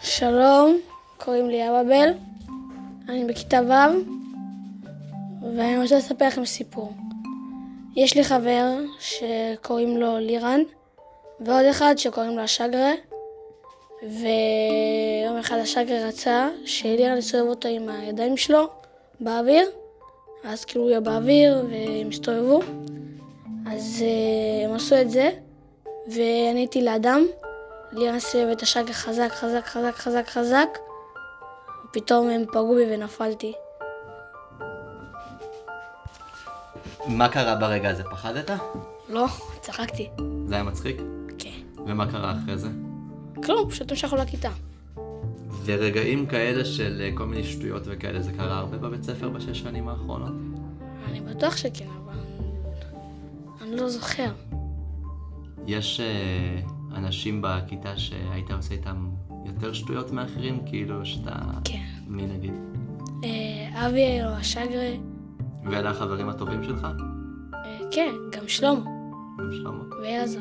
שלום, קוראים לי אבאבל, אני בכיתה ו', ואני רוצה לספר לכם סיפור. יש לי חבר שקוראים לו לירן, ועוד אחד שקוראים לו השגרה, ויום אחד השגרה רצה שלירן יסובב אותו עם הידיים שלו באוויר, אז כאילו הוא יהיה באוויר והם יסתובבו. אז אה, הם עשו את זה, ואני הייתי לאדם, לירן סובב את השגה חזק, חזק, חזק, חזק, חזק, ופתאום הם פגעו בי ונפלתי. מה קרה ברגע הזה? פחדת? לא, צחקתי. זה היה מצחיק? כן. ומה קרה אחרי זה? כלום, פשוט המשכנו לכיתה. ורגעים כאלה של אה, כל מיני שטויות וכאלה, זה קרה הרבה בבית ספר בשש שנים האחרונות? אני בטוח שכן, אבל... אני לא זוכר. יש אה, אנשים בכיתה שהיית עושה איתם יותר שטויות מאחרים? כאילו שאתה... כן. מי נגיד? אה, אבי או השגרה, ואלה החברים הטובים שלך? אה, כן, גם שלמה גם שלמה. ואלעזר.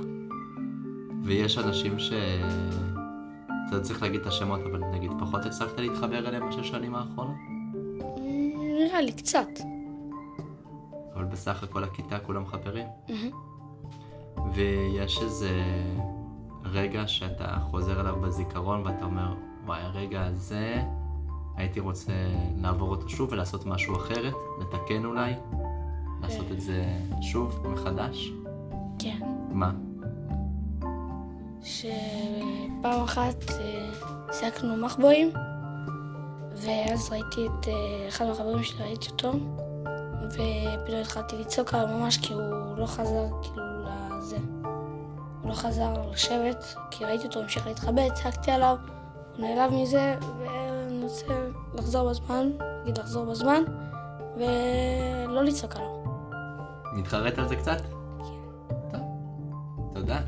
ויש אנשים ש... אתה לא צריך להגיד את השמות, אבל נגיד פחות הצלחת להתחבר אליהם בשש שנים האחרונות? נראה לי קצת. אבל בסך הכל הכיתה כולם חברים. מהמם. ויש איזה רגע שאתה חוזר אליו בזיכרון ואתה אומר, וואי, הרגע הזה, הייתי רוצה לעבור אותו שוב ולעשות משהו אחרת, לתקן אולי, לעשות את זה שוב, מחדש. כן. מה? שפעם אחת שיחקנו מחבואים, ואז ראיתי את אה, אחד מהחברים שלי, ראיתי אותו, ופתאום התחלתי לצעוק עליו ממש כי הוא לא חזר כאילו לזה. הוא לא חזר לשבת, כי ראיתי אותו המשיך להתחבא, צעקתי עליו, הוא נעלב מזה, ואני רוצה לחזור בזמן, נגיד לחזור בזמן, ולא לצעוק עליו. נתחרט על זה קצת? טוב. תודה.